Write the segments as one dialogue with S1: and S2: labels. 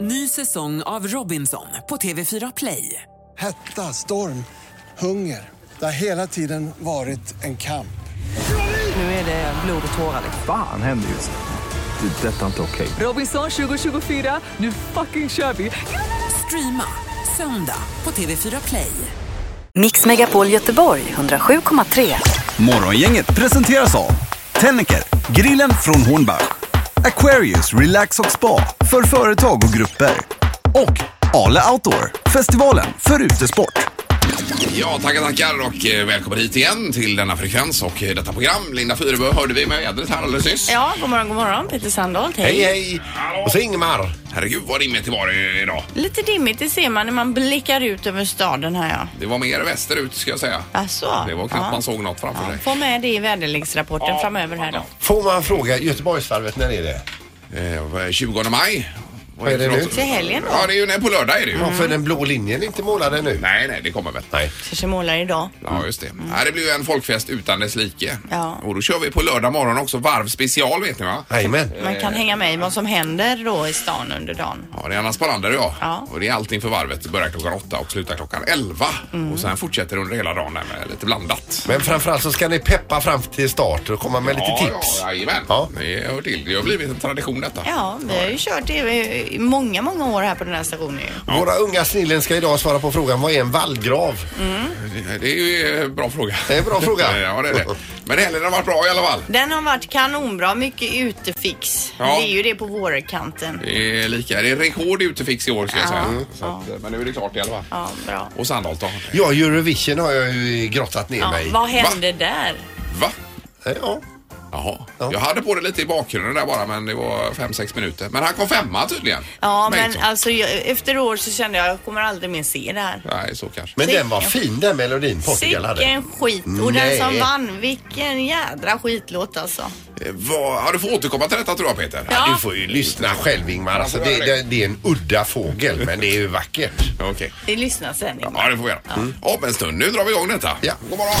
S1: Ny säsong av Robinson på TV4 Play.
S2: Hetta, storm, hunger. Det har hela tiden varit en kamp.
S1: Nu är det blod och tårar. liksom.
S3: Fan händer just nu. Det. är Detta är inte okej.
S1: Robinson 2024, nu fucking kör vi! Streama söndag på TV4 Play.
S4: Mix Megapol Göteborg 107,3.
S5: Morgongänget presenteras av Tennecker, grillen från Hornbach. Aquarius Relax och Spa för företag och grupper. Och Ale Outdoor, festivalen för utesport.
S6: Ja, tackar, tackar och eh, välkommen hit igen till denna frekvens och eh, detta program. Linda Fyrebo hörde vi med vädret här alldeles nyss.
S7: Ja, god morgon, god morgon. Peter Sandholt, hej.
S8: Hej, hej! Och så Ingmar.
S6: Herregud vad dimmigt det var i- idag.
S7: Lite dimmigt, det ser man när man blickar ut över staden här ja.
S6: Det var mer västerut ska jag säga.
S7: Alltså,
S6: Det var knappt
S7: ja.
S6: man såg något framför sig.
S7: Få med det i väderleksrapporten framöver här då.
S8: Får man fråga, Göteborgsvarvet, när är det?
S6: Eh, vad är 20 maj.
S8: Vad är det nu?
S7: Till helgen då.
S6: Ja, det är ju nej, på lördag är det ju.
S8: Ja, för den blå linjen är inte målad ännu.
S6: Nej, nej, det kommer väl.
S8: Nej.
S7: Kanske målar idag.
S6: Ja, just det. Nej, det blir ju en folkfest utan dess like.
S7: Mm. Ja.
S6: Och då kör vi på lördag morgon också, varvspecial vet ni va?
S8: Jajamän.
S7: Man kan hänga med i vad som händer då i stan under dagen.
S6: Ja, det är Anna Sparander och jag.
S7: Ja.
S6: Och det är allt inför varvet. Det börjar klockan åtta och slutar klockan elva.
S7: Mm.
S6: Och sen fortsätter det under hela dagen där med lite blandat.
S8: Men framförallt så ska ni peppa fram till start och komma med lite tips.
S6: Ja, jajamän.
S8: Ja.
S6: Det hör till. Det har blivit en tradition detta.
S7: Ja, vi har ju kört det i många, många år här på den här stationen ju.
S8: Våra unga snillen ska idag svara på frågan, vad är en vallgrav?
S7: Mm.
S6: Det- Eh, Det är ju en bra fråga.
S8: Det är en bra fråga.
S6: ja, det är det. Men helgen har varit bra i alla fall.
S7: Den har varit kanonbra, mycket utefix.
S6: Ja.
S7: Det är ju det på vårkanten.
S6: Det är lika. Det är rekord i utefix i år ska jag
S7: Ja,
S6: säga.
S7: ja.
S6: Så att, men nu är det klart i alla fall.
S7: Ja, bra.
S6: Och Sandholt då?
S8: Ja, Eurovision har jag ju grottat ner
S7: Ja,
S8: mig i.
S7: vad hände där?
S6: Va?
S8: Ja.
S6: Jaha.
S8: Ja.
S6: Jag hade på det lite i bakgrunden där bara men det var fem sex minuter. Men han kom femma tydligen.
S7: Ja, men
S6: Bengtsson.
S7: alltså jag, efter år så kände jag jag kommer aldrig mer se det här.
S6: Nej, så kanske.
S8: Men den
S7: Sicken-
S8: var fin den melodin Portugal hade.
S7: Sicken skit. Och
S8: Nej.
S7: den som vann, vilken jädra skitlåt alltså.
S6: Eh, vad- Ja, du får återkomma till detta tror jag Peter.
S7: Ja.
S8: Du får ju lyssna själv Ingmar. Alltså, det, det, det är en udda fågel men det är ju vackert.
S6: Okej.
S7: Vi lyssnar sen.
S6: Ja, det får vi göra. Om en stund. Nu drar vi igång detta.
S8: Ja.
S6: God morgon.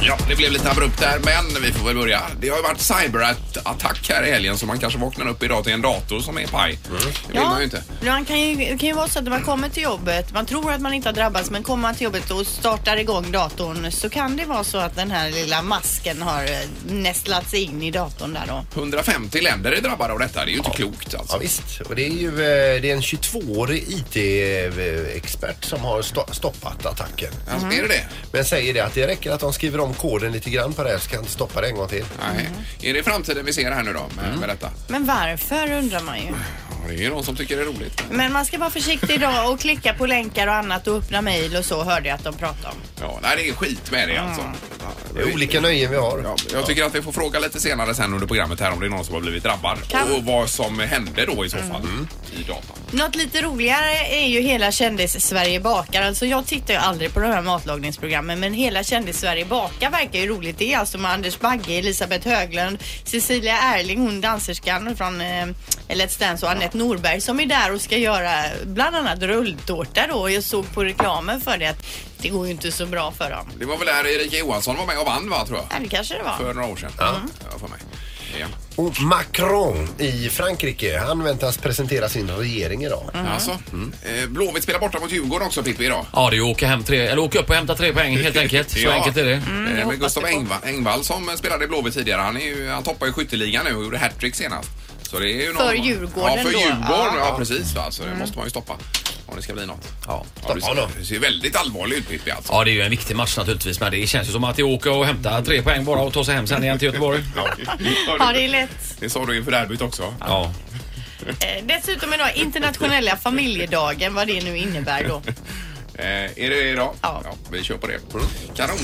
S6: Ja, det blev lite abrupt där, men vi får väl börja. Det har ju varit cyberattack här i helgen så man kanske vaknar upp idag till en dator som är paj.
S8: Mm.
S6: Det vill man ju inte.
S7: Man kan ju, det kan ju vara så att när man kommer till jobbet, man tror att man inte har drabbats men kommer man till jobbet och startar igång datorn så kan det vara så att den här lilla masken har eh, nästlat sig in i datorn där då.
S6: 150 länder är drabbade av detta. Det är ju inte klokt
S8: Ja,
S6: alltså.
S8: visst. Och det är ju eh, det är en 22-årig IT-expert som har sto- stoppat attacken.
S6: Alltså, Är det det?
S8: Men säger det att det räcker att de skriver om koden lite grann på det här så kan de stoppa det en gång till. Mm.
S6: Nej.
S7: Mm.
S6: Är det framtiden vi ser här nu då med, med detta?
S7: Men varför undrar man ju.
S6: Ja, det är ju någon som tycker det är roligt. Men,
S7: Men man ska vara försiktig idag och klicka på länkar och annat och öppna mejl och så hörde jag att de pratade om.
S6: ja, nej, det är skit med det alltså.
S7: Mm.
S8: Det är olika nöjen vi har.
S6: Ja, jag tycker att vi får fråga lite senare sen under programmet här om det är någon som har blivit drabbad
S7: Kan- Mm.
S6: och vad som hände då i så fall
S8: Mm.
S6: i datan.
S7: Något lite roligare är ju hela Kändis-Sverige bakar. Alltså jag tittar ju aldrig på de här matlagningsprogrammen men hela Kändis-Sverige bakar verkar ju roligt. Det är alltså med Anders Bagge, Elisabeth Höglund, Cecilia Erling, hon danserskan från eh, Let's Dance och Anette Norberg som är där och ska göra bland annat rulltårta då. Och Jag såg på reklamen för det att det går ju inte så bra för dem.
S6: Det var väl där Erika Johansson var med och vann va, tror jag?
S7: Ja, det kanske det
S6: För
S7: var.
S6: några år sedan. Ja. för mig. Ja.
S8: Och Macron i Frankrike, han väntas presentera sin regering idag.
S6: Alltså, eh, Blåvitt spelar borta mot Djurgården också Pippi idag.
S9: Mm. Ja, det är ju åka hem tre, eller åka upp och hämta tre poäng helt enkelt. Så
S6: Ja.
S9: enkelt är det.
S6: Eh,
S7: jag
S6: men
S7: hoppas
S6: Gustav
S7: det går.
S6: Engvall, Engvall som eh, spelade i Blåvitt tidigare, han, är ju, han toppar ju skytteligan nu och gjorde hattrick senast. Så det är ju någon,
S7: För Djurgården
S6: Ja, för
S7: då.
S6: Djurgården. Ja,
S7: Ja. Mm.
S6: precis. Va? Så det måste man ju stoppa om det ska bli något. Ja, du,
S8: Stoppa
S6: ser,
S8: honom.
S6: du ser väldigt allvarlig ut Pippi alltså.
S9: Ja, det är ju en viktig match naturligtvis, men det känns ju som att det är åka och hämta tre poäng bara och ta sig hem sen igen till Göteborg.
S6: Ja.
S7: Ja, det är lätt.
S6: Det sa du inför derbyt också.
S9: Ja.
S7: Eh, dessutom idag internationella familjedagen, vad det nu innebär då.
S6: Eh, är det idag?
S7: Ja.
S6: Vi kör på det. Mm. Kanon.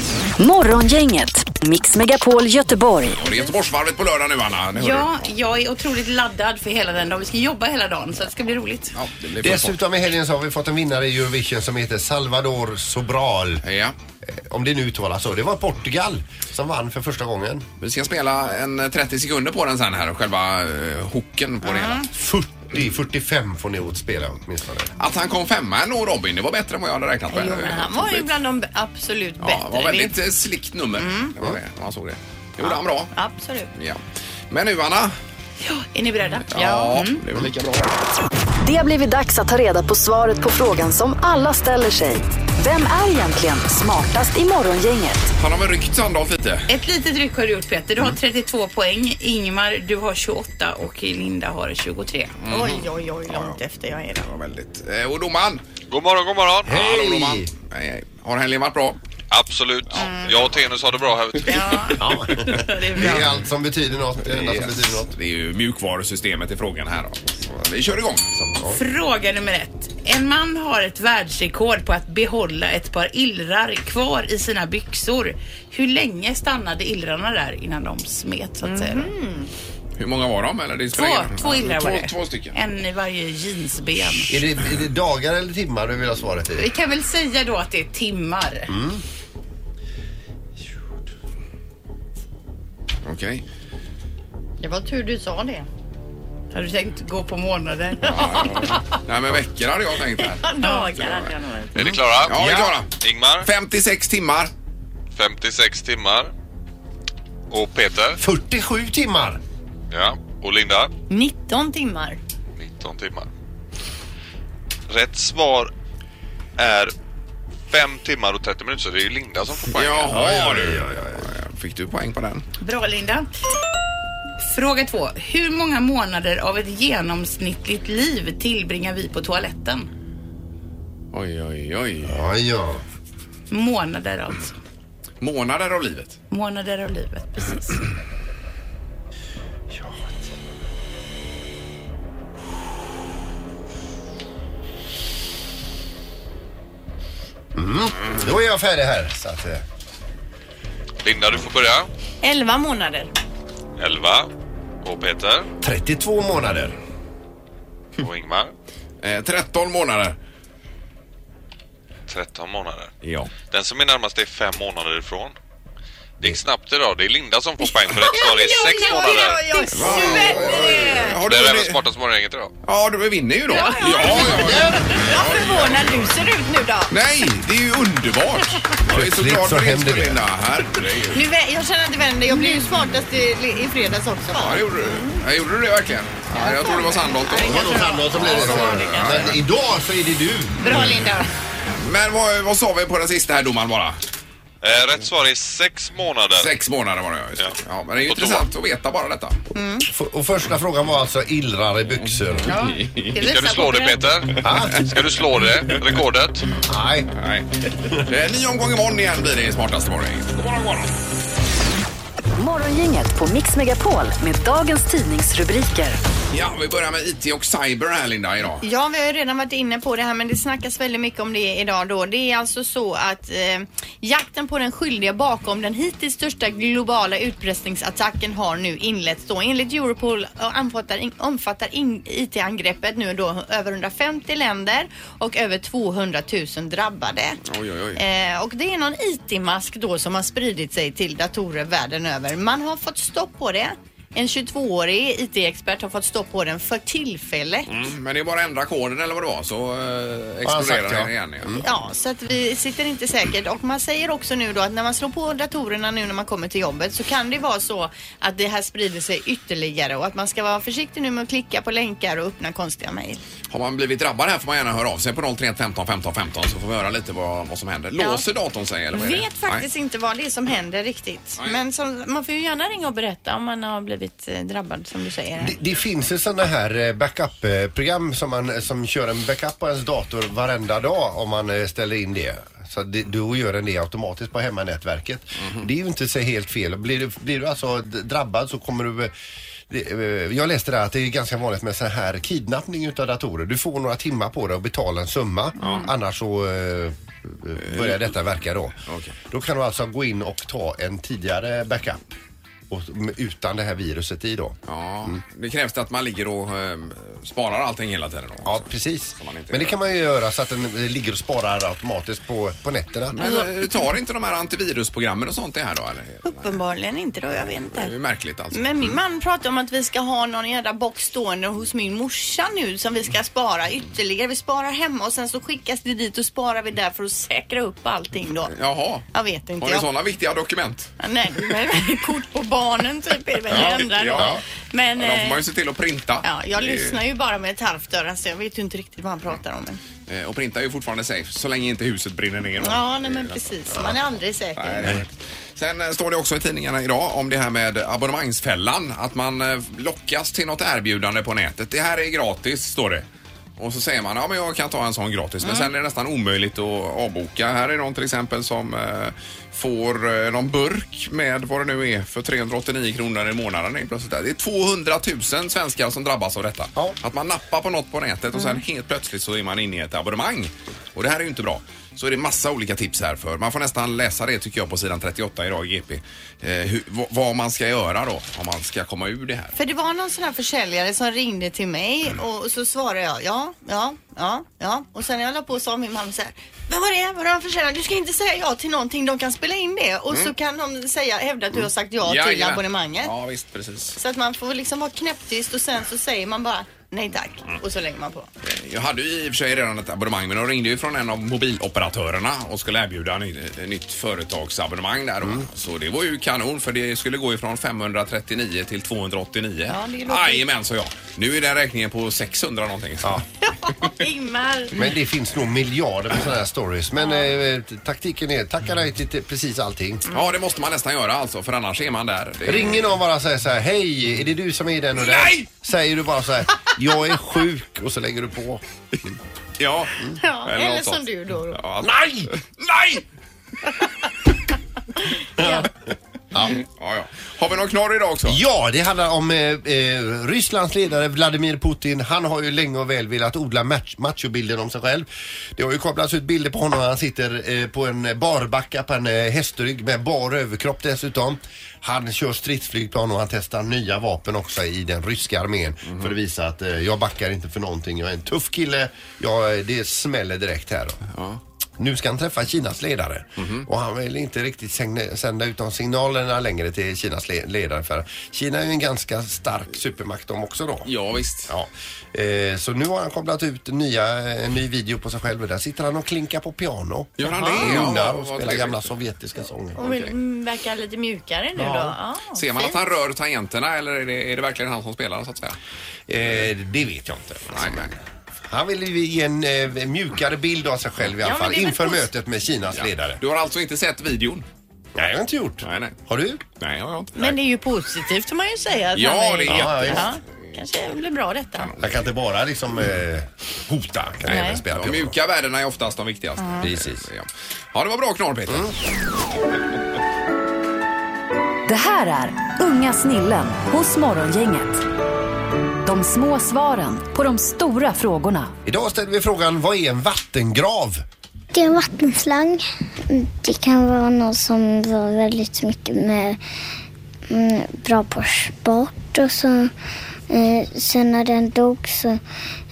S4: Morgongänget, Mix Megapol Göteborg.
S6: Och det är Göteborgsvarvet på lördag nu Anna. Ni hör
S10: Ja,
S6: det.
S10: jag är otroligt laddad för hela den dagen. Vi ska jobba hela dagen så det ska bli roligt.
S6: ja, det blir full fart.
S8: Dessutom i helgen så har vi fått en vinnare i Eurovision som heter Salvador Sobral.
S6: Ja.
S8: Eh, Om det nu uttalas så. Det var Portugal som vann för första gången.
S6: Vi ska spela en 30 sekunder på den sen här, själva eh, hooken på det hela.
S8: 40, 45 får ni åtspela åtminstone.
S6: Att han kom femma ändå Robin, det var bättre än vad jag hade räknat med.
S7: Jo, men han var ju bland de absolut
S6: Ja,
S7: bättre. Mm.
S6: det var
S7: Det-
S6: väldigt eh, slikt nummer. Det var det, man såg det. Det gjorde han bra.
S7: Absolut.
S6: Ja. Men nu Anna?
S10: Är ni beredda?
S6: Ja,
S7: Mm.
S6: det är väl lika bra.
S4: Det har blivit dags att ta reda på svaret på frågan som alla ställer sig. Vem är egentligen smartast i Morgongänget?
S6: Han har väl ryckt Sandhoff lite?
S10: Ett litet ryck har du gjort Peter. Du
S6: Mm.
S10: har 32 poäng. Ingmar, du har 28 och Linda har 23.
S7: Oj, oj, oj, långt efter jag är där.
S6: Ja, väldigt. Mm. Eh, Och domaren?
S11: God morgon, god morgon.
S6: Hallå domaren. Hej, hej. Har helgen varit bra?
S11: Absolut. Jag och Tenus har det bra här ute.
S8: Ja.
S10: Det är
S8: Det
S10: bra.
S8: är allt som betyder något. Det enda som
S6: Yes.
S8: betyder något.
S6: Det är ju mjukvarusystemet i frågan här då. Så Vi kör igång.
S10: Fråga nummer ett. En man har ett världsrekord på att behålla ett par illrar kvar i sina byxor. Hur länge stannade illrarna där innan de smet så att säga?
S7: Mhm.
S6: Hur många var de? Eller det
S10: Två,
S6: spelar ingen roll.
S10: två illrar var
S6: två,
S10: det.
S6: två stycken.
S10: En i varje jeansben.
S8: Är det, är det dagar eller timmar du vill ha svaret
S10: Vi
S8: i? Mm.
S10: kan väl säga då att det är timmar.
S6: Okej.
S7: Det var tur du sa det.
S10: Har du tänkt gå på månader?
S6: Nej men veckor hade jag tänkt här.
S10: Dagar hade jag nog varit.
S11: Är ni klara?
S6: Ja, vi är klara.
S11: Ingmar,
S6: 56 timmar.
S11: 56 timmar. Och Peter,
S8: 47 timmar!
S11: ja. Och Linda,
S7: 19 timmar.
S11: 19 timmar. Rätt svar är 5 timmar och 30 minuter, så det är ju Linda som får poäng.
S6: Jaha du. Fick du poäng på den?
S10: Bra Linda. Fråga två. Hur många månader av ett genomsnittligt liv tillbringar vi på toaletten?
S6: Oj, oj, oj.
S8: Ja, ja.
S10: Månader alltså.
S6: Månader av livet.
S10: Månader av livet, precis.
S8: Mm.
S6: Mm.
S8: Då är jag färdig här. Så att, eh,
S11: Linda, du får börja.
S7: 11 månader.
S11: 11. Och Peter.
S8: 32 månader.
S11: Och Ingmar.
S6: Eh, 13 månader.
S11: 13 månader.
S6: Ja.
S11: Den som är närmast är 5 månader ifrån. Det gick snabbt idag. Det är Linda som får poäng för rätt svar. Det är 6 månader.
S6: Har
S11: Det är även
S6: du,
S11: smartast morgongänget idag.
S6: ja, du vinner ju då. Ja, ja, ja.
S7: Vad förvånad du ser ut nu då.
S6: Nej, det är ju underbart. Jag är så
S8: Plötsligt
S6: glad
S8: så
S6: för din
S8: händer
S6: skull,
S8: det.
S6: Linna. Herregud.
S7: Nu, vä- jag känner att det vänder. Jag blev ju smartast i, i fredags också.
S6: Ja, det gjorde du. Ja, gjorde du det verkligen? Ja, jag tror det var Sandholt
S8: Det
S6: då.
S8: var nog Sandholt som blev det. då. Men idag så är det du.
S7: Bra Linda.
S6: Men vad, vad sa vi på den sista här domaren bara?
S11: Eh, rätt svar är 6 månader.
S6: Sex månader var det ja, just det.
S11: Ja.
S6: Ja, men det är ju
S11: Och då-
S6: intressant att veta bara detta.
S10: Mm.
S8: F- Och första frågan var alltså illrar i byxor.
S11: Ska du slå det Peter?
S8: Ah,
S11: Ska du slå det? Rekordet?
S8: nej.
S6: Nej. Eh, Ny omgång imorgon igen blir det i smartaste morgon. God morgon, god morgon.
S4: Morgongänget på Mix Megapol med dagens tidningsrubriker.
S6: Ja, vi börjar med IT och cyber här Linda idag.
S7: Ja, vi har ju redan varit inne på det här men det snackas väldigt mycket om det idag då. Det är alltså så att eh, jakten på den skyldiga bakom den hittills största globala utpressningsattacken har nu inletts då. Enligt Europol eh, omfattar, omfattar in- IT-angreppet nu då över 150 länder och över 200 000 drabbade.
S6: Oj, oj, oj.
S7: Eh, och det är någon IT-mask då som har spridit sig till datorer världen över. Man har fått stopp på det. En 22-årig IT-expert har fått stopp på den för tillfället.
S6: Mm, Men det är bara att ändra koden eller vad det var så eh,
S8: han
S6: exploderar
S8: sagt, ja.
S6: den igen. Ja.
S7: Ja, Mm. så att vi sitter inte säkert. Och man säger också nu då att när man slår på datorerna nu när man kommer till jobbet så kan det vara så att det här sprider sig ytterligare och att man ska vara försiktig nu med att klicka på länkar och öppna konstiga mejl.
S6: Har man blivit drabbad här får man gärna höra av sig på 031 15 15 15 så får vi höra lite vad, vad som händer. Låser datorn sig eller vad är det?
S10: Vet
S7: Faktiskt inte vad det är som händer riktigt.
S6: Nej.
S7: Men som, man får ju gärna ringa och berätta om man har blivit eh, drabbad som du säger. här.
S8: Det, det finns ju sådana här eh, backup-program som, man, som kör en backup på ens dator varenda dag om man eh, ställer in det. Så det, då gör den det automatiskt på hemmanätverket. Det är ju inte så helt fel. Blir du, blir du alltså d- drabbad så kommer du... eh, det, eh, Jag läste där att det är ganska vanligt med så här kidnappning utav datorer. Du får några timmar på dig och betalar en summa. Annars så eh, eh, börjar detta verka då.
S6: Okej.
S8: Då kan du alltså gå in och ta en tidigare backup. Och, utan det här viruset i då. Mm.
S6: Ja, det krävs det att man ligger och eh, sparar allting hela tiden då.
S8: Ja, precis.
S6: man inte
S8: Men det
S6: gör.
S8: kan man ju göra så att den eh, ligger och sparar automatiskt på, på nätterna.
S6: Men eh, tar inte de här antivirusprogrammen och sånt det här då eller?
S7: Uppenbarligen inte då, jag vet
S6: Det är ju
S7: inte.
S6: märkligt alltså.
S7: Men min man pratar om att vi ska ha någon jävla box stående hos min morsa nu som vi ska spara ytterligare. Vi sparar hemma och sen så skickas det dit och sparar vi där för att säkra upp allting då.
S6: Jaha.
S7: Jag vet inte.
S6: Har ni
S7: jag.
S6: sådana viktiga dokument?
S7: Nej, men kort på barnen typ är det väl det enda då.
S6: ja.
S7: Men
S6: Ja, de får man
S7: eh,
S6: ju se till att printa.
S7: ja, jag
S6: Det är-
S7: lyssnar ju bara med ett halvt öra så jag vet ju inte riktigt vad han pratar om. Men.
S6: eh, Och printa är ju fortfarande safe så länge inte huset brinner ner.
S7: Ja, nej men precis. Man är aldrig säker.
S6: Nej, det är rätt. Sen eh, står det också i tidningarna idag om det här med abonnemangsfällan. Att man eh, lockas till något erbjudande på nätet. Det här är gratis, står det. Och så säger man ja men jag kan ta en sån gratis. Men sen är det nästan omöjligt att avboka. Här är någon till exempel som eh, får eh, någon burk med vad det nu är för 389 kronor i månaden. helt Plötsligt. Det är 200 000 svenskar som drabbas av detta. Att man nappar på något på nätet och
S7: Mm.
S6: sen helt plötsligt så är man inne i ett abonnemang. Och det här är ju inte bra. Så är det massa olika tips här för. Man får nästan läsa det tycker jag på sidan 38 idag i GP. Eh, hur, vad- vad man ska göra då om man ska komma ur det här.
S7: För det var någon sån här försäljare som ringde till mig och så svarade jag ja, ja, ja, ja. Och sen när jag la på sa min mamma så här. Men vad är det? Vad är det för försäljare? Du ska inte säga ja till någonting. De kan spela in det och så kan de säga, hävda att du har sagt ja till
S6: Jajamän.
S7: abonnemanget.
S6: Mm. Ja visst, precis.
S7: Så att man får liksom vara knäpptyst och sen så säger man bara nej tack och så lägger man på.
S6: Jag hade ju i och för sig redan ett abonnemang men de ringde ju från en av mobiloperatörerna och skulle erbjuda ny, ett nytt företagsabonnemang där. Mm. Så det var ju kanon för det skulle gå ifrån 539 till 289.
S7: Ja, det låter-
S6: Jajamän, sa jag. Nu är den räkningen på 600 någonting. Ja.
S7: Ingmar!
S8: Men det finns nog miljarder med sådana här stories. Men eh, taktiken är tacka nej till till precis allting.
S6: ja, det måste man nästan göra alltså för annars är man där. Det är-
S8: Ringer någon bara och säger så här, hej, är det du som är den och den?
S6: Nej!
S8: Säger du bara så här, jag är sjuk och så lägger du på.
S6: Ja.
S7: Ja,
S6: Eller
S7: eller,
S6: något
S7: som
S6: sånt.
S7: du då. då.
S6: Ja, nej! Nej! ja. Ja, ja. Har vi någon knorr idag också?
S8: Mm. Ja, det handlar om eh, eh, Rysslands ledare Vladimir Putin. Han har ju länge och väl velat odla match, machobilden om sig själv. Det har ju kablats ut bilder på honom. Han sitter eh, på en barbacka på en eh, hästrygg med bar överkropp dessutom. Han kör stridsflygplan och han testar nya vapen också i den ryska armén
S6: Mhm.
S8: för att visa att eh, jag backar inte för någonting. Jag är en tuff kille. Jag, eh, det smäller direkt här. Då. Nu ska han träffa Kinas ledare
S6: Mm-hmm.
S8: och han vill inte riktigt säng- sända ut de signalerna längre till Kinas le- ledare för Kina är ju en ganska stark supermakt de också då.
S6: Ja, visst.
S8: Ja. Eh, så nu har han kopplat ut nya, en ny video på sig själv och där sitter han och klinkar på piano.
S6: Gör han
S8: Och
S6: det?
S8: nynnar
S6: vad
S8: och spelar
S6: trevligt.
S8: gamla sovjetiska sånger.
S7: Och vill, mm, verkar lite mjukare nu då. Ja,
S6: Ser man att
S7: fint.
S6: han rör tangenterna eller är det, är det verkligen han som spelar så att säga?
S8: Eh, det vet jag inte.
S6: Nej, nej.
S8: Han vill ju ge en eh, mjukare bild av sig själv i alla
S7: men
S8: fall
S7: det är väl
S8: inför
S7: posi-
S8: mötet med Kinas ledare.
S6: Du har alltså inte sett videon?
S8: Nej, jag har inte gjort.
S6: Nej, nej.
S8: Har du?
S6: Nej, jag har inte.
S7: Men det är ju positivt får man ju säga. Att
S6: Ja,
S7: han är,
S6: det är
S7: ja,
S8: jätte-
S7: Kanske blir bra detta.
S8: Jag kan inte bara liksom eh, hota. Jag Kan
S7: Nej.
S8: även spela
S6: De
S8: piano.
S6: mjuka värdena är oftast de viktigaste.
S8: Precis.
S6: Ja. ja, det var bra knorr Peter.
S4: Det här är Unga snillen hos Morgongänget. De små svaren på de stora frågorna.
S8: Idag ställer vi frågan, vad är en vattengrav?
S12: Det är en vattenslang. Det kan vara någon som var väldigt mycket med mm, bra på sport och så. Eh, sen när den dog så,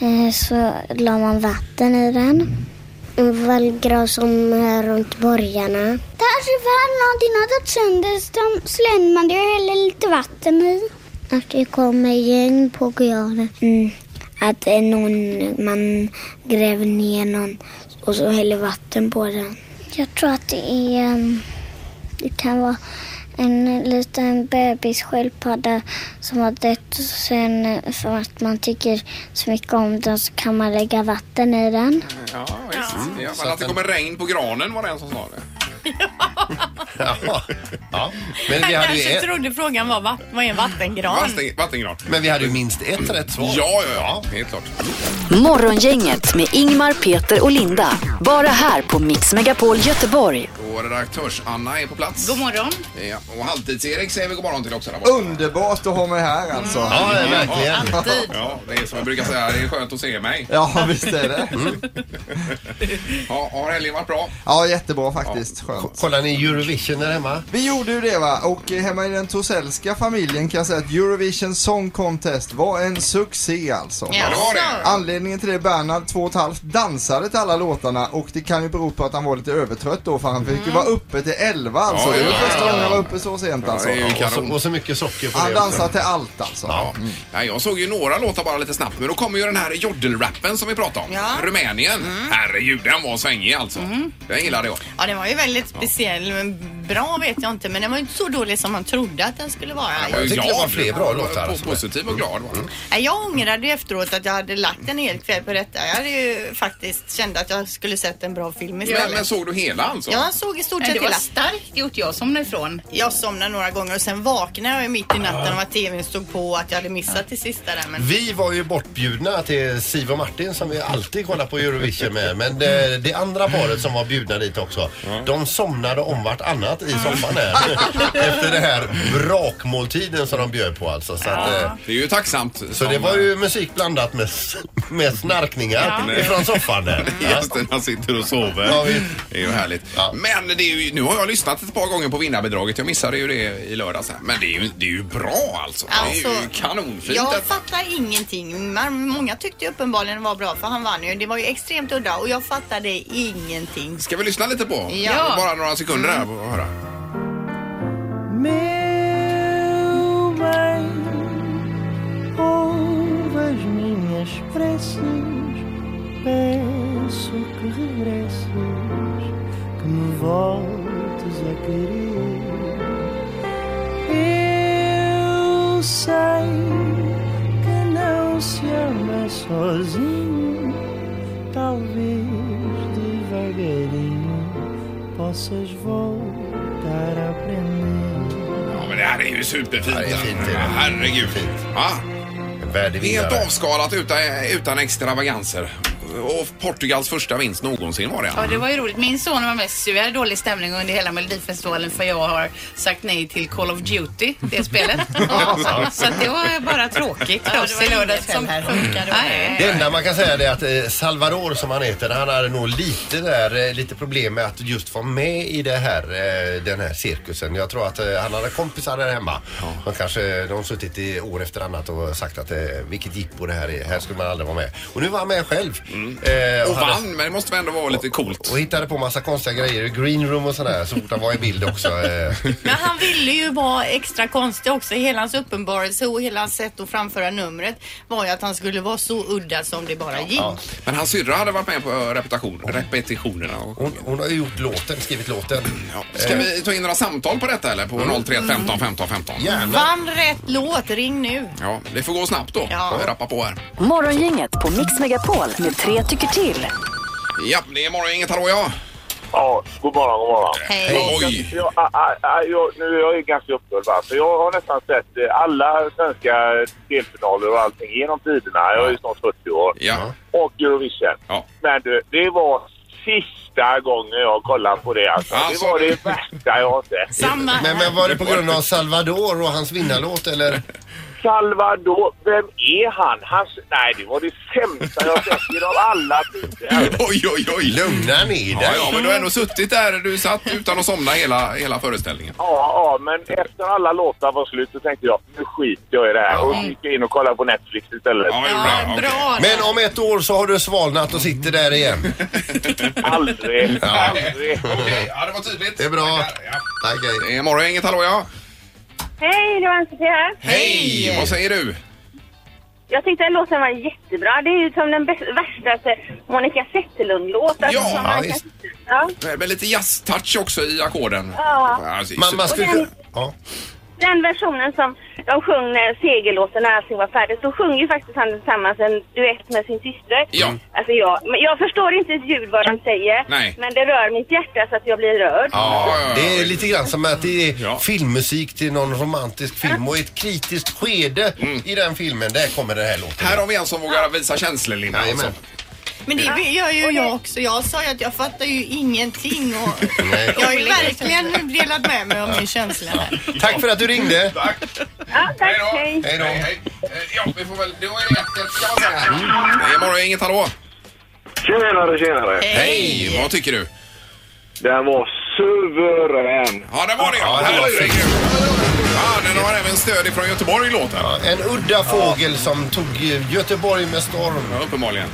S12: eh, så la man vatten i den. En vallgrav som är runt borgarna. Där försvann någonting, har gått sönder så de slängde och hällde lite vatten i. Att det kommer gäng på graven. Mm. Att det är någon, man gräver ner någon och så häller vatten på den. Jag tror att det är... ehm, Det kan vara en liten bebissköldpadda som har dött och sen eh, för att man tycker så mycket om den så kan man lägga vatten i den.
S6: Ja, visst. Ja, men att det kommer regn på granen var det en som sa det.
S8: ja. ja. Men,
S7: Han
S8: vi hade ju
S7: kanske
S8: ett,
S7: trodde frågan var va- vad är en vattengran?
S6: Vatten, vattengran.
S8: men vi hade ju minst ett rätt svar.
S6: Ja, ja, ja. Helt klart.
S4: Morgongänget med Ingmar, Peter och Linda. Bara här på Mix Megapol Göteborg.
S6: Och redaktörs-Anna är på plats.
S10: God morgon.
S6: Ja, och halvtids-Erik säger vi god morgon till också. Där borta.
S3: Underbart att ha mig här
S6: Mm.
S3: alltså.
S8: Ja, verkligen.
S6: Ja, det är som jag brukar säga, det är skönt att se mig. Mm.
S3: Ja, visst är det.
S6: Ja, har helgen varit bra?
S3: Ja, jättebra faktiskt. Skönt.
S8: Kollar ni Eurovision där hemma?
S3: Vi gjorde ju det va och eh, hemma i den Tosellska familjen kan jag säga att Eurovision Song Contest var en succé alltså.
S6: Ja, det var det.
S3: Anledningen till det, Bernhard två och ett halvt dansade till alla låtarna och det kan ju bero på att han var lite övertrött då för han
S6: Mm.
S3: fick ju vara uppe till 11 alltså.
S6: Ja,
S3: det var
S6: ja,
S3: första
S6: ja.
S3: gången jag var uppe så sent alltså.
S6: det är ju-
S8: Och så, och så mycket socker på
S3: Han
S8: det också.
S3: dansar till allt alltså.
S6: Ja.
S8: Mm.
S6: Ja, jag såg ju några låtar bara lite snabbt, men då kommer ju den här jodelrappen som vi pratade om.
S7: Ja. Mm.
S6: Rumänien. Herregud, den var svängig alltså. Den gillade jag.
S7: Ja, den var ju väldigt speciell. men bra vet jag inte men den var ju inte så dålig som man trodde att den skulle vara.
S6: Han
S8: Jag
S6: ju
S8: tycker det var fler bra
S6: Han
S8: låtar alltså. Mm.
S6: po-
S8: som är-
S6: Positiv och glad var han.
S7: Nej, Jag ångrade ju efteråt att jag hade lagt en hel kväll på detta. Jag hade ju faktiskt kände att jag skulle sett en bra film istället.
S6: Men, men såg du hela alltså?
S7: Ja, jag såg i stort
S10: Men
S7: sett
S10: det var
S7: starkt gjort. Jag somnade ifrån. Jag somnade några gånger och sen vaknade jag ju mitt i natten av att tvn stod på och att jag hade missat det sista där. Men...
S8: Vi var ju bortbjudna till Siv och Martin som vi alltid kollar på Eurovision med. Men det, det andra paret som var bjudna dit också, de somnade om vartannat i soffan här. Efter den här brakmåltiden som de bjöd på alltså. Så att, eh,
S6: Det är ju tacksamt.
S8: Så det var ju musik blandat med, s- med snarkningar
S6: Ja.
S8: ifrån soffan där.
S6: Just det, han sitter och sover.
S8: Ja, vi-
S6: Det är ju härligt. Men det är ju, nu har jag lyssnat ett par gånger på vinnarbidraget. Jag missade ju det i lördags. här. Men det är ju, det är ju bra alltså. Det är ju
S7: Alltså,
S6: kanonfint.
S7: Jag
S6: detta.
S7: fattar ingenting. Man, många tyckte ju uppenbarligen det var bra för han vann ju. Det var ju extremt udda och jag fattade ingenting.
S6: Ska vi lyssna lite på?
S7: Ja.
S6: Bara några sekunder här och höra.
S13: Peço que regresses, que me voltes a querer. Eu sei que não se ama sozinho, talvez devagarinho possas voltar a aprender.
S6: Ja, men det här är ju superfint.
S8: Ja, det är fint, det är det.
S6: Herregud. Ja.
S8: En värdig
S6: Helt
S8: vinnare.
S6: avskalat utan, utan extravaganser. Och Portugals första vinst någonsin var det.
S10: Ja, det var ju roligt. Min son var mest sur. Jag hade dålig stämning under hela Melodifestivalen för jag har sagt nej till Call of Duty, det spelet. Ja, så att det var bara tråkigt för
S7: Ja,
S10: oss
S7: det
S10: i
S7: var
S10: lördags
S7: inget som
S10: kväll.
S7: funkade.
S10: Nej.
S8: Det enda man kan säga det är att eh, Salvador som han heter, han hade nog lite, där, eh, lite problem med att just vara med i det här, eh, den här cirkusen. Jag tror att eh, han hade kompisar där hemma. De kanske de har suttit i år efter annat och sagt att eh, vilket jippo det här är, här skulle man aldrig vara med. Och nu var han med själv. Eh,
S6: Mm. Och
S8: hade-
S6: vann, men det måste väl ändå vara lite coolt.
S8: och hittade på massa konstiga grejer, green room och sådär, så fort han var i bild också. Eh,
S7: Men han ville ju vara extra konstig också. Hela hans uppenbarelse och hela hans sätt att framföra numret var ju att han skulle vara så udda som det bara gick.
S8: Ja.
S6: Men hans syrra hade varit med på eh, repetition, repetitionerna. och-
S8: hon, hon har ju gjort låten, skrivit låten. Eh. Mm.
S6: Ska vi ta in några samtal på detta eller? På 031
S10: Mm.
S6: 15 15 15?
S7: Vann rätt låt, ring nu.
S6: Ja, det får gå snabbt då.
S7: Ja.
S6: Vi rappar på här.
S4: Morgongänget på Mix Megapol med tre tycker till.
S6: Ja, det är morgongänget. Hallå ja!
S14: Ja, god morgon, god morgon.
S6: Hej. Oj.
S14: Jag, a, a, a, jag, nu är jag ju ganska upprörd va? för jag har nästan sett eh, alla svenska delfinaler och allting genom tiderna. Jag är ju snart 40 år.
S6: Ja.
S14: Och Eurovision. Men du, det var sista gången jag kollade på det alltså.
S8: Alltså.
S14: Det var det värsta jag har sett.
S8: Men, men var det på grund av Salvador och hans vinnarlåt eller?
S14: Salvador, vem är han? han? Nej, det var det sämsta jag sett genom alla tider.
S6: Oj, oj, oj!
S8: Lugna ner
S6: Ja, ja, men du har ändå suttit där. Du satt utan att somna hela, hela föreställningen.
S14: Ja, ja, men efter alla låtar var slut så tänkte jag nu skiter jag i det här och gick in och kollade på Netflix istället.
S7: Bra
S8: Men om ett år så har du svalnat och sitter där igen.
S14: Aldrig,
S8: Ja.
S14: aldrig.
S6: Okej, ja, det var tydligt.
S8: Det är bra. Tack,
S6: Det är morgongänget. Hallå ja!
S15: Hej, det var Ann-Sofie här.
S6: Hej! Vad säger du?
S15: Jag tyckte den låten var jättebra. Det är ju som den bäst- värsta Monica Zetterlund-låt. Ja,
S6: ja,
S15: man kan...
S6: visst.
S15: ja.
S6: Med- Med lite jazztouch också i ackorden.
S15: Ja.
S6: Alltså,
S15: Man- man skulle- Och Den versionen som de sjöng när segerlåten när allting var färdigt. Då sjunger ju faktiskt han tillsammans en duett med sin syster.
S6: Ja.
S15: Alltså jag, men jag förstår inte ett ljud vad de säger.
S8: Nej.
S15: Men det rör mitt hjärta så att jag blir rörd.
S8: Ja, det är lite grann som att det är filmmusik till någon romantisk film och i ett kritiskt skede i den filmen, där kommer den här låten.
S6: Mm. Här har vi en som vågar visa känslor, Linda.
S8: Jajamän.
S6: alltså.
S7: Men det gör ju jag också. Jag sa ju att jag fattar ju ingenting och
S8: Nej.
S7: jag har ju verkligen delat med mig av min känsla här.
S8: Tack för att du ringde.
S15: Ja, tack. Hej.
S8: Hej då.
S6: Ja, vi får väl... Det var ju rätt, ska man säga. Det är morgongänget. Hallå!
S14: Tjenare, tjenare!
S6: Hej! Vad tycker du?
S14: Den var suverän!
S6: Ja, det var det ja! Herregud! Ja, den har även stöd ifrån Göteborg, låten.
S8: En udda fågel som tog eh, Göteborg med storm.
S6: Ja, uppenbarligen.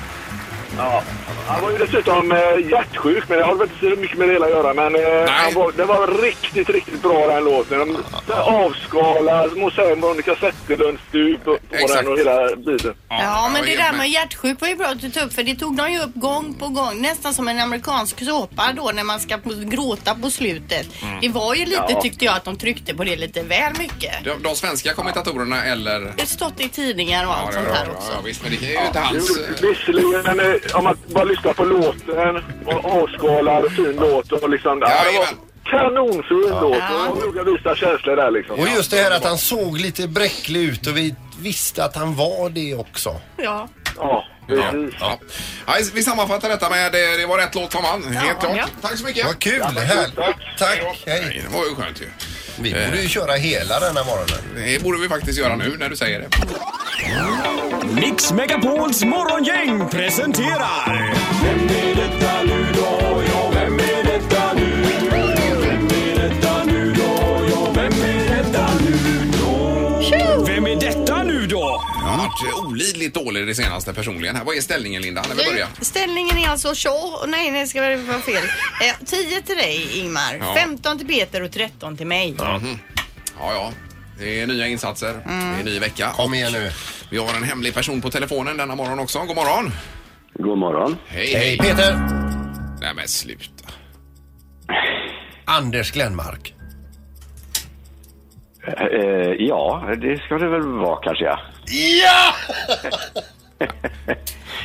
S14: Ja. Han var ju dessutom eh, hjärtsjuk, men det har väl inte så mycket med det hela att göra. Men eh, han var, det var riktigt, riktigt bra den låten. De så här avskalad, små Monica Zetterlund-stup på
S6: Exakt.
S14: den och hela biten.
S7: Ja, men det där med hjärtsjuk var ju bra att du tog upp för det tog de ju upp gång på gång. Nästan som en amerikansk såpa då när man ska på- gråta på slutet.
S6: Mm.
S7: Det var ju lite,
S6: Ja.
S7: tyckte jag, att de tryckte på det lite väl mycket.
S6: De, de svenska kommentatorerna eller...
S7: Det har stått i tidningar och allt
S6: Ja,
S7: sånt
S6: ja,
S7: här
S6: ja,
S7: också.
S6: ja, visst, men det är ju inte hans...
S14: Jo, Visserligen, men eh, om man bara lyssnar på låten och avskalad och fin låt och liksom... Ja, det var kanonfin låt och de gjorde vissa känslor där liksom.
S8: Och just det här att han såg lite bräcklig ut och vi visste att han var det också.
S7: Ja.
S14: Ja,
S6: precis. Ja. Ja, vi sammanfattar detta med det, det var rätt låt som vann, helt klart. Tack så mycket.
S8: Vad kul! Härligt. Tack! Hej!
S6: Det var ju skönt ju. Eh.
S8: Vi borde ju köra hela denna morgonen.
S6: Det borde vi faktiskt göra nu när du säger det.
S16: Mix Megapols morgongäng presenterar... Vem är detta nu då? Ja, vem är detta nu? Vem är detta nu då? Ja, vem är detta nu då? Vem är detta nu då?
S6: Jag har varit eh, olidligt dålig det senaste personligen. här. Vad är ställningen Linda, när vi börjar?
S7: Ställningen är alltså 20, nej det ska vara fel. Eh, 10 till dig Ingmar,
S6: Ja.
S7: 15 till Peter och 13 till mig.
S6: Mhm. Ja, ja. Det är nya insatser.
S16: Mm.
S6: Det är ny vecka. Kom igen nu. Vi har en hemlig person på telefonen denna morgon också. God morgon.
S17: God morgon.
S6: Hej,
S8: Hej Peter!
S6: Nej men sluta.
S8: Anders Glenmark.
S17: Eh, ja, det ska det väl vara kanske ja.
S8: Ja!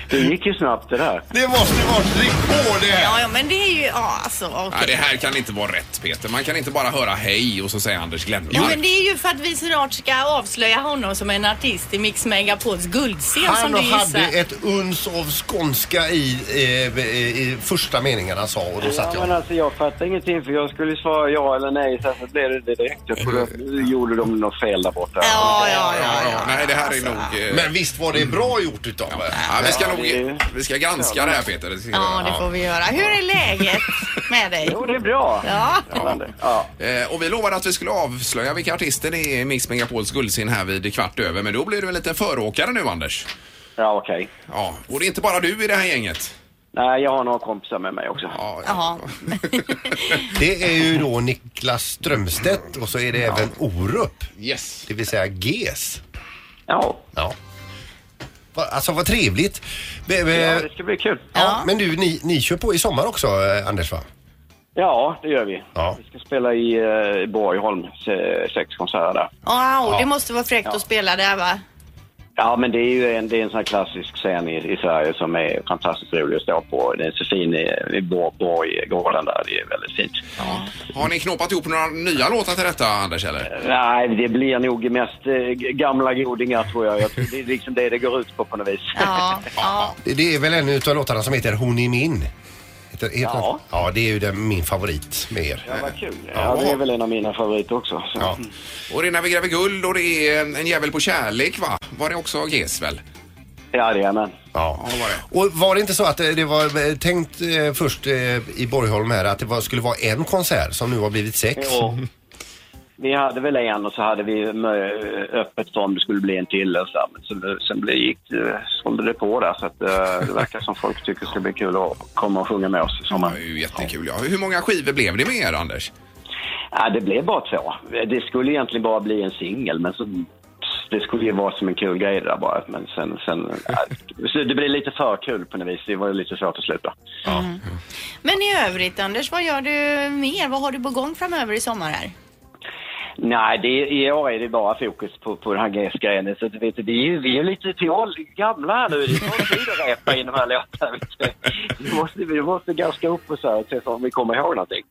S17: Det gick ju snabbt det där.
S8: Det måste varit rekord det!
S7: Ja, ja men det är ju, ja alltså okej.
S6: Nej, det här kan inte vara rätt Peter. Man kan inte bara höra hej och så säger Anders Glenmark.
S7: Jo, men det är ju för att vi snart ska avslöja honom som en artist i Mix Megapols guldscen som
S8: Han
S7: du
S8: hade
S7: gissar.
S8: ett uns av skånska i, eh, i första meningen han sa och då
S17: Ja,
S8: satt jag.
S17: men alltså, jag fattar ingenting för jag skulle svara ja eller nej så, här, så blev det direkt. Jag tror att nu gjorde de något fel där borta.
S7: Ja,
S6: ja, ja, Nej, det här är nog... eh,
S8: Men visst var det bra gjort utav ja.
S6: Ja, vi ska nog... Vi ska granska det här Peter. Det ska vi
S7: Ja,
S6: göra.
S7: det får vi göra. Hur är läget med dig? Jo,
S17: det är bra.
S7: Ja.
S6: Eh, Och vi lovade att vi skulle avslöja vilka artister det är i Mix Megapols guldscen här vid kvart över. Men då blir du en liten föråkare nu Anders.
S17: Ja, okej.
S6: Ja, och det är inte bara du i det här gänget.
S17: Nej, jag har några kompisar med mig också.
S7: Jaha.
S8: Det är ju då Niklas Strömstedt och så är det även Orup.
S6: Yes.
S8: Det vill säga GES.
S17: Ja.
S8: ja. Va- Alltså vad trevligt. Be- be-
S17: Ja, det ska bli kul.
S8: Ja, men du, ni, ni kör på i sommar också eh, Anders va?
S17: Ja, det gör vi. Vi ska spela i eh, Borgholm, se- sex konserter där.
S7: Wow, det
S17: Ja.
S7: måste vara fräckt
S17: Ja.
S7: att spela där va?
S17: Ja, men det är ju en, det är en sån här klassisk scen i, i Sverige som är fantastiskt rolig att stå på. Det är så fin i, i Bor- Borggården där. Det är väldigt fint.
S6: Har ni knåpat ihop några nya låtar till detta Anders eller?
S17: Nej, det blir nog mest eh, g- gamla godingar tror jag. jag tror det är liksom det det går ut på på något vis.
S7: Ja.
S8: Det, det är väl en utav låtarna som heter Hon är min? Heter, heter ja. ja, det är ju den, min favorit med er.
S6: Eh,
S17: Ja, vad kul. Ja, det är väl en av mina favoriter också. Så.
S8: Ja.
S6: Och det är När vi gräver guld och det är En, en jävel på kärlek va? Var det också GES väl?
S17: Ja, det är man.
S8: Ja.
S6: var det.
S8: Och var det inte så att eh, det var eh, tänkt eh, först eh, i Borgholm här att det var, skulle vara en konsert som nu har blivit sex?
S17: Jo. Vi hade väl en och så hade vi mö- öppet för om det skulle bli en till. Och så. där. Men sen, sen blev- gick, eh, sålde det på där så att, eh, det verkar som folk tycker det ska bli kul att komma och sjunga med oss i sommar.
S6: Det är ju jättekul ja. Hur många skivor blev det med er Anders?
S17: Ja, det blev bara två. Det skulle egentligen bara bli en singel, men så, det skulle ju vara som en kul grej där bara. Men sen, sen, ja, så det blev lite för kul på något vis. Det var ju lite svårt att sluta.
S7: Men i övrigt Anders, vad gör du mer? Vad har du på gång framöver i sommar här?
S17: Nej, det, i år är det bara fokus på, på den här GES-grejen. Så du vet, vi är ju vi är lite till ål- gamla här nu. Det tar tid att repa in de här låtarna. vet du. Vi måste, vi måste gaska upp och så här och se om vi kommer ihåg någonting.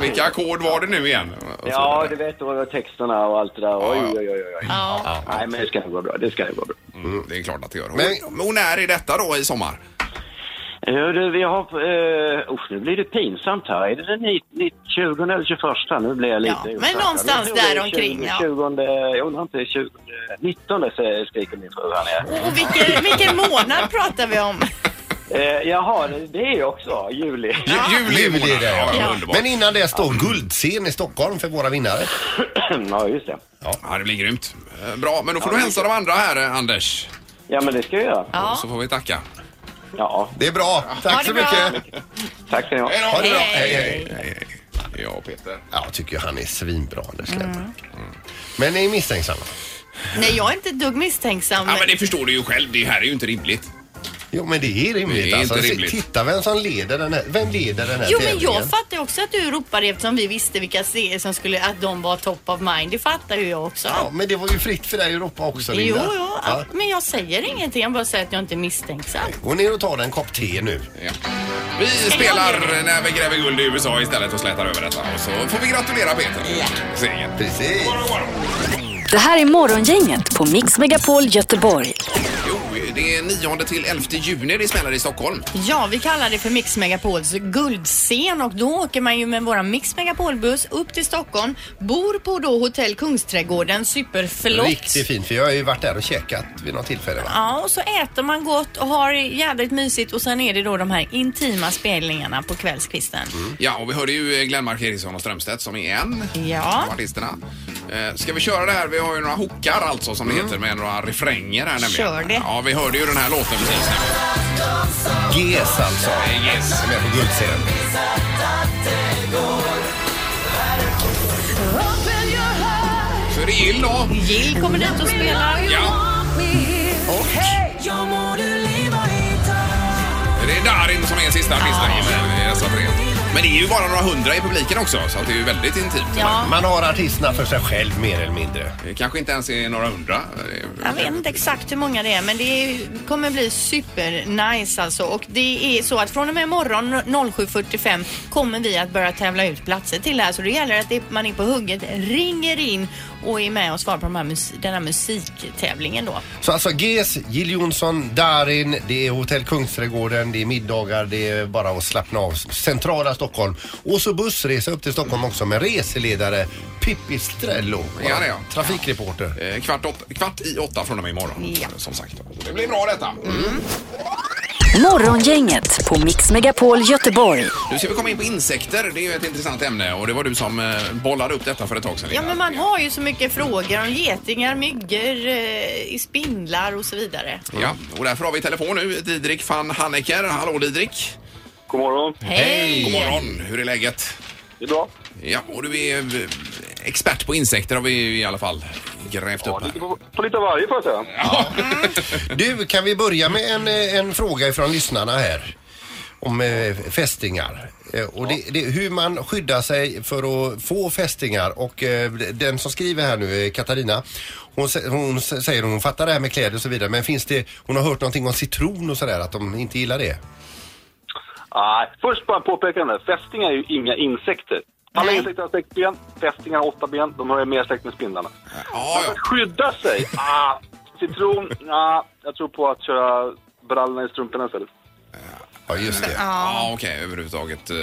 S6: Vilka ackord var det nu igen? Och så
S17: Ja,
S6: vidare.
S17: du vet, och texterna och allt det där. Oj, oj, oj, oj.
S6: Ja.
S17: Nej, men det ska nog gå bra. Det ska nog gå bra.
S6: Mm, det är klart att det gör. Men, och när är detta då i sommar?
S17: Ja, du, vi har... Uh, usch, nu blir det pinsamt här. Är det den ni- ni- 20 eller 21? Nu blir jag lite...
S7: men
S17: osäker.
S7: någonstans
S17: Jag tror det är
S7: där omkring,
S17: 20,
S7: ja.
S17: 20, jag undrar inte, 20, 19 så skriker min fru här nere.
S7: Och vilken, vilken månad pratar vi om?
S17: Eh, jaha, det- det är ju också juli.
S8: Juli, är det, ja.
S17: Ja, underbart.
S8: Men innan det står guldscen i Stockholm för våra vinnare.
S17: ja, just det.
S6: Ja. det blir grymt. Eh, Bra, men då får du hälsa de andra här eh, Anders.
S17: Ja, men det ska jag göra.
S6: Så får vi tacka.
S17: Ja.
S8: Det är bra. Tack
S17: Ha det
S8: så
S17: bra.
S8: mycket.
S17: Tack ska ni ha.
S8: Ha det bra.
S17: Hej,
S8: Hej,
S17: hej.
S8: hej.
S6: Ja, Peter.
S8: Jag tycker han är svinbra, Anders Lindberg. Men ni är misstänksamma?
S7: Mm. Nej, jag är inte ett dugg misstänksam.
S6: Ja, men det förstår du ju själv. Det här är ju inte rimligt.
S8: Jo, men det är rimligt.
S6: Det är
S8: alltså,
S6: inte
S8: se-
S6: rimligt.
S8: Titta vem som leder den här, vem leder den här
S7: Jo men
S8: tävlingen.
S7: jag fattar ju också att du ropade eftersom vi visste vilka serier som skulle, att de var top of mind. Det fattar ju jag också.
S8: Ja, men det var ju fritt för dig att ropa också,
S7: jo,
S8: Linda.
S7: jo,
S8: Ja.
S7: men jag säger ingenting. Jag bara säger att jag inte är misstänksam.
S8: Gå ner och ta dig en kopp te nu.
S6: Vi spelar När vi gräver guld i USA istället och slätar över detta. Och så får vi gratulera Peter. Ja. Segern.
S8: Precis.
S4: Det här är Morgongänget på Mix Megapol Göteborg.
S6: Jo, det är 9 till 11 juni det smäller i Stockholm.
S7: Ja, vi kallar det för Mix Megapols guldscen och då åker man ju med våran Mix Megapol-buss upp till Stockholm, bor på då hotell Kungsträdgården, superflott.
S8: Riktigt fint, för jag har ju varit där och käkat vid något tillfälle. Va?
S7: Ja, och så äter man gott och har jädrigt mysigt och sen är det då de här intima spelningarna på kvällskvisten.
S8: Mm.
S6: Ja, och vi hörde ju Glenmark Eriksson och Strömstedt som är en
S7: Ja.
S6: av artisterna. Eh, Ska vi köra det här? Vi har ju några hookar alltså som det
S8: Mm.
S6: heter med några refränger här nämligen.
S7: Kör det.
S6: Ja, vi hörde ju den här låten precis nu.
S8: GES alltså.
S6: GES.
S8: Som är på guldscenen.
S6: Så är det Jill då.
S7: Jill kommer dit och spelar.
S6: Ja, det är Darin som är sista artisten i dessa tre. Men det är ju bara några hundra i publiken också, så att det är ju väldigt intimt.
S8: Man har artisterna för sig själv mer eller mindre.
S6: Det kanske inte ens är några hundra. Eh, Det är-
S7: Jag vet inte exakt hur många det är men det är- kommer bli supernice alltså. Och det är så att från och med imorgon 07.45 kommer vi att börja tävla ut platser till det här. Så det gäller att det- man är på hugget, ringer in och är med och svarar på de här mus- den här musiktävlingen då.
S8: Så alltså GES, Jill Johnson, Darin, det är Hotell Kungsträdgården, det är middagar, det är bara att slappna av. Centrala Stockholm. Och så bussresa upp till Stockholm också med reseledare Pippi Strello.
S6: Ja, det är jag.
S8: Trafikreporter.
S6: Eh, Kvart, åtta, kvart i åtta från och med imorgon. Som sagt. Så Det blir bra detta.
S4: Morgongänget på Mix Megapol Göteborg.
S6: Nu ska vi komma in på insekter. Det är ju ett intressant ämne och det var du som eh, bollade upp detta för ett tag sedan.
S7: Ja
S6: Linda.
S7: men man har ju så mycket frågor om getingar, myggor, eh, spindlar och så vidare.
S6: Ja, och därför har vi telefon nu. Didrik van Hanneker. Hallå Didrik! God morgon!
S7: Hej.
S6: God morgon! Hur är läget? Det är bra. Ja, och du är eh, expert på insekter har vi ju i alla fall grävt upp här.
S14: På lite av varje får jag säga.
S8: Du, kan vi börja med en, eh, en fråga ifrån lyssnarna här? Om eh, fästingar. Eh, och det, det, hur man skyddar sig för att få fästingar. Och eh, den som skriver här nu, eh, Katarina, hon, sä- hon s- säger hon fattar det här med kläder och så vidare. Men finns det, hon har hört någonting om citron och sådär, att de inte gillar det.
S18: Nej, först bara påpekande. Fästingar är ju inga insekter. Alla insekter har sex ben, fästingar har åtta ben. De har ju mer släkt med spindlarna.
S6: Ja,
S18: Att skydda sig? Ah, citron? Ah, jag tror på att köra brallorna i strumporna istället.
S8: Ja, just
S6: det. Ja, okej. Överhuvudtaget eh,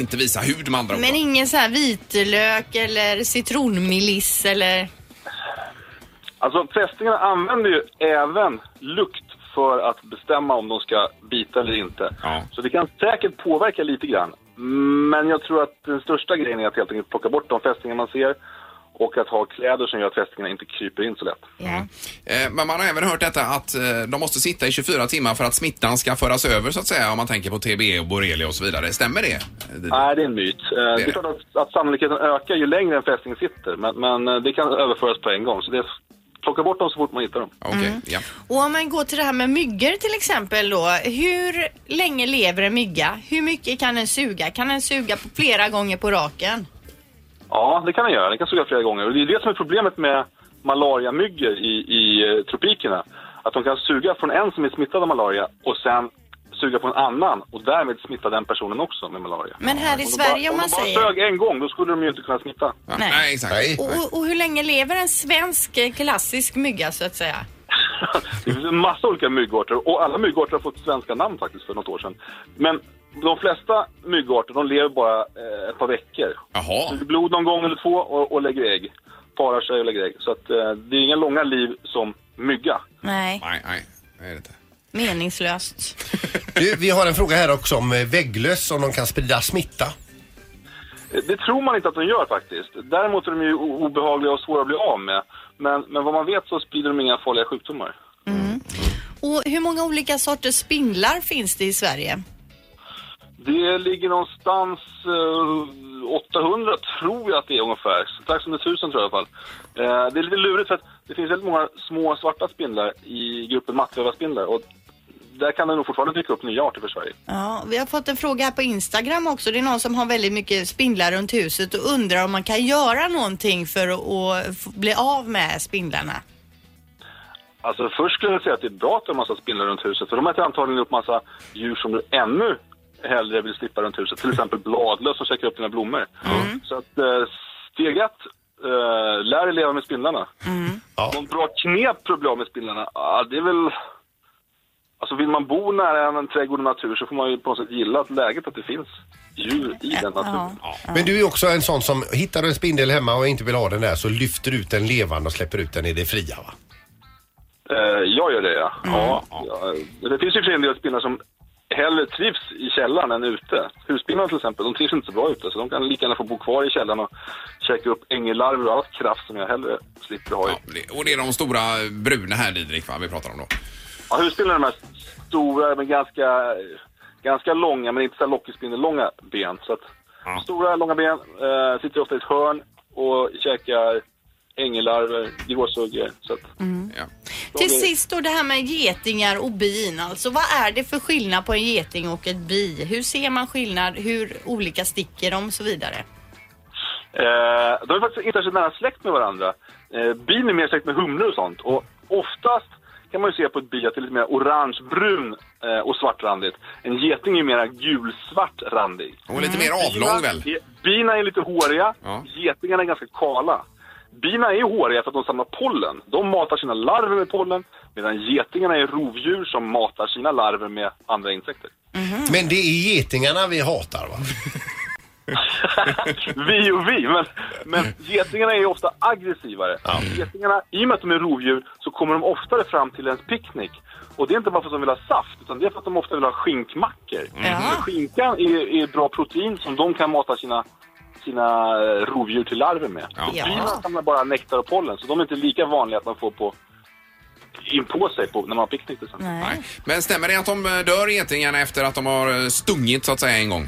S6: inte visa hud med andra ord.
S7: Men ingen så här vitlök eller citronmeliss eller...
S18: Alltså, fästingarna använder ju även lukt för att bestämma om de ska bita eller inte. Så det kan säkert påverka lite grann. Men jag tror att den största grejen är att helt enkelt plocka bort de fästingar man ser och att ha kläder som gör att fästingarna inte kryper in så lätt.
S6: Eh, Men man har även hört detta att eh, de måste sitta i 24 timmar för att smittan ska föras över så att säga om man tänker på TBE och borrelia och så vidare. Stämmer det?
S18: Nej, det är en myt. Eh, Det
S6: det.
S18: är klart att, att sannolikheten ökar ju längre en fästing sitter, men, men eh, det kan överföras på en gång. Så det är, plocka bort dem så fort man hittar dem.
S6: Okej, ja.
S7: Och om man går till det här med myggor till exempel då. Hur länge lever en mygga? Hur mycket kan den suga? Kan den suga på flera gånger på raken?
S18: Ja, det kan den göra. Den kan suga flera gånger. Och det är det som är problemet med malariamyggor i, i eh, tropikerna. Att de kan suga från en som är smittad av malaria och sen suga på en annan och därmed smitta den personen också med malaria.
S7: Men här i
S18: de
S7: Sverige
S18: bara,
S7: om man
S18: de bara
S7: säger...
S18: sög en gång, då skulle de ju inte kunna smitta.
S6: Nej, exakt.
S7: Och, och, och hur länge lever en svensk eh, klassisk mygga så att säga?
S18: Det finns en massa olika myggorter och alla myggorter har fått svenska namn faktiskt för något år sedan. Men de flesta myggorter de lever bara eh, ett par veckor.
S14: 啊
S6: Jaha.
S18: Blod någon gång eller två och, och lägger ägg. Parar sig och lägger ägg. Så att, eh, det är inga långa liv som mygga.
S7: Nej,
S6: Nej, nej. Det är det inte.
S7: meningslöst.
S8: Du, vi har en fråga här också om eh, vägglöss, om de kan sprida smitta.
S18: Eh, Det tror man inte att de gör faktiskt. Däremot är de ju o- obehagliga och svåra att bli av med. Men, men vad man vet så sprider de inga farliga sjukdomar.
S7: Och hur många olika sorters spindlar finns det i Sverige?
S18: Det ligger någonstans eh, 800 tror jag att det är ungefär. Strax under 1000 tror jag i alla fall. Eh, det är lite lurigt för att det finns väldigt många små svarta spindlar i gruppen mattrövarspindlar. Och där kan det nog fortfarande dyka upp nya arter för Sverige.
S7: Ja, vi har fått en fråga här på Instagram också. Det är någon som har väldigt mycket spindlar runt huset och undrar om man kan göra någonting för att att f- bli av med spindlarna.
S18: Alltså först skulle jag säga att det är bra att det är en massa spindlar runt huset. För de äter antagligen upp massa djur som du ännu hellre vill slippa runt huset. Till exempel bladlöss som käkar upp dina blommor. Så att eh, steg ett, eh, lär dig leva med spindlarna. Någon bra knep för att bli av med spindlarna, ah, det är väl... Alltså vill man bo nära en trädgård och natur så får man ju på något sätt gilla att läget att det finns djur i den naturen.
S8: Men du är också en sån som hittar du en spindel hemma och inte vill ha den där så lyfter ut den levande och släpper ut den i det fria va?
S18: Eh, jag gör det, ja. ja. ja. eh, Det finns ju för sig en del spindlar som hellre trivs i källaren än ute. Husspindlarna till exempel, de trivs inte så bra ute så de kan lika gärna få bo kvar i källaren och käka upp ängelarver och allt kraft som jag hellre slipper ha i.
S6: Det- Och det är de stora bruna här Didrik va, vi pratar om då.
S18: Ja, husspindlarna är de här stora men ganska, ganska långa, men inte så här lockerspindellånga ben. Så att stora, långa ben, eh, sitter ofta i ett hörn och käkar ängelarver, gråsuggor. eh, Så att
S6: Ja.
S7: Till
S18: Okej.
S7: sist då det här med getingar och bin alltså. Vad är det för skillnad på en geting och ett bi? Hur ser man skillnad? Hur olika sticker de och så vidare?
S18: Eh, de är faktiskt inte särskilt nära släkt med varandra. Eh, bin är mer släkt med humlor och sånt. Och oftast kan man ju se på ett bi att det är lite mer orange-brun eh, och svartrandigt. En geting är ju mer gulsvart randig.
S6: Och lite mer avlång väl?
S18: Bina- Bina är lite håriga,
S6: Ja.
S18: getingarna är ganska kala. Bina är ju håriga för att de samlar pollen. De matar sina larver med pollen medan getingarna är rovdjur som matar sina larver med andra insekter.
S8: Men det är getingarna vi hatar va?
S18: vi och vi, men, men getingarna är ju ofta aggressivare. Getingarna, I och med att de är rovdjur så kommer de oftare fram till ens picknick. Och det är inte bara för att de vill ha saft, utan det är för att de ofta vill ha skinkmackor. För Skinkan är, är bra protein som de kan mata sina sina eh, rovdjur till larver med. Ja.
S7: Ja.
S18: Bina samlar bara nektar och pollen, så de är inte lika vanliga att man får på, in på sig på, när man har picknick till exempel.
S6: Nej. Men stämmer det att de eh, dör getingarna efter att de har eh, stungit så att säga en gång?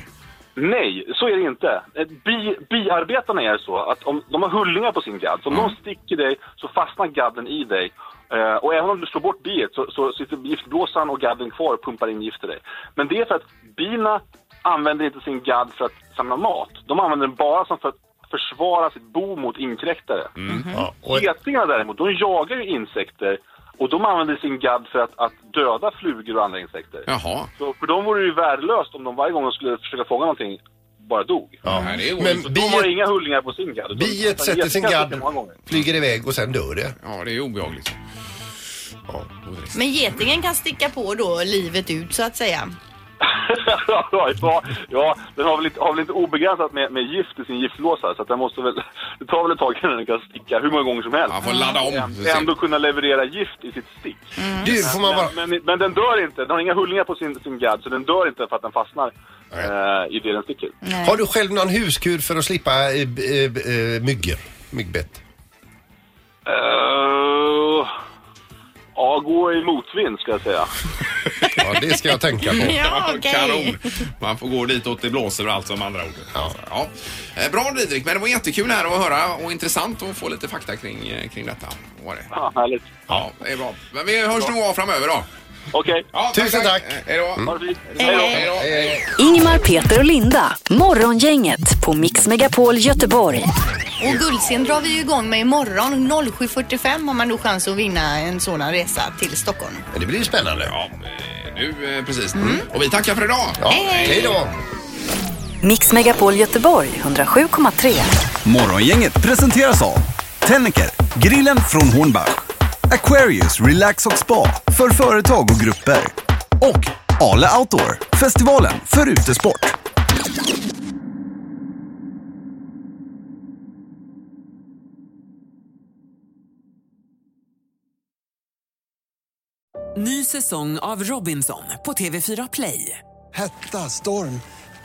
S18: Nej, så är det inte. Eh, Bi, biarbetarna är så att om de har hullingar på sin gadd, så om de sticker dig så fastnar gadden i dig. Eh, och även om du slår bort biet så, så sitter giftblåsan och gadden kvar och pumpar in gift i dig. Men det är för att bina använder inte sin gadd för att samla mat. De använder den bara som för att försvara sitt bo mot inkräktare.
S8: Ja,
S18: Getingarna däremot, de jagar ju insekter och de använder sin gadd för att, att döda flugor och andra insekter.
S6: Jaha.
S18: Så för dem vore det ju värdelöst om de varje gång de skulle försöka fånga någonting bara dog.
S8: Nej, det är
S18: Men
S8: orimligt.
S18: de har inga hullingar på sin gadd. Utan
S8: Biet sätter sin
S18: getingar
S8: gadd,
S18: sitter många gånger.
S8: flyger iväg och sen dör det.
S6: Ja, det är obehagligt.
S7: Men getingen kan sticka på då livet ut så att säga.
S18: ja, ja, den har väl inte, har väl inte obegränsat med, med gift i sin giftblåsa så att den måste väl, det tar väl ett tag innan den kan sticka hur många gånger som helst.
S6: får ladda om.
S18: Äm- Ändå kunna leverera gift i sitt stick.
S8: Mm. Du, får man bara-
S18: men, men, men den dör inte, den har inga hullingar på sin, sin gadd så den dör inte för att den fastnar eh, i det den sticker.
S8: Har du själv någon huskur för att slippa eh, b- eh, b- eh, myggor? Myggbett?
S18: Eh, ja, gå i motvind ska jag säga.
S8: Ja, det ska jag tänka på.
S7: Ja, okej.
S6: Kanon. Man får gå dit åt det blåser och allt som andra ord. Ja. Eh, Bra Didrik, men det var jättekul här att höra och intressant att få lite fakta kring, eh, kring detta. Var det.
S18: Ja, härligt.
S6: Ja, det är bra. Men vi hörs nog av framöver då.
S18: Okej. Mm.
S6: Ja, Tusen tack. Eh, tack. Hej då.
S4: Hej då.
S6: Hej då.
S4: Ingmar, Peter och Linda. Morgongänget på Mix Megapol Göteborg.
S7: Och guldscen drar vi ju igång med imorgon. 07.45 har man då chans att vinna en sådan resa till Stockholm.
S8: Det blir ju spännande. Mm.
S6: Ja, eh, nu eh, precis. Och vi tackar för idag.
S8: Hej då.
S4: Mix Megapol Göteborg 107,3.
S5: Morgongänget presenteras av Tennecker, grillen från Hornbach, Aquarius Relax och Spa för företag och grupper och Ale Outdoor, festivalen för utesport.
S1: Ny säsong av Robinson på TV4 Play.
S2: Hetta, storm,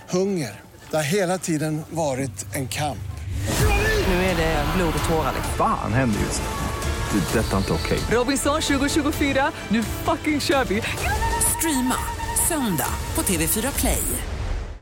S2: hunger. Det har hela tiden varit en kamp.
S1: Nu är det blod och tårar. liksom.
S19: Fan händer just det. det- detta är inte okej.
S1: Robinson 2024, nu fucking kör vi! Streama söndag på TV4 Play.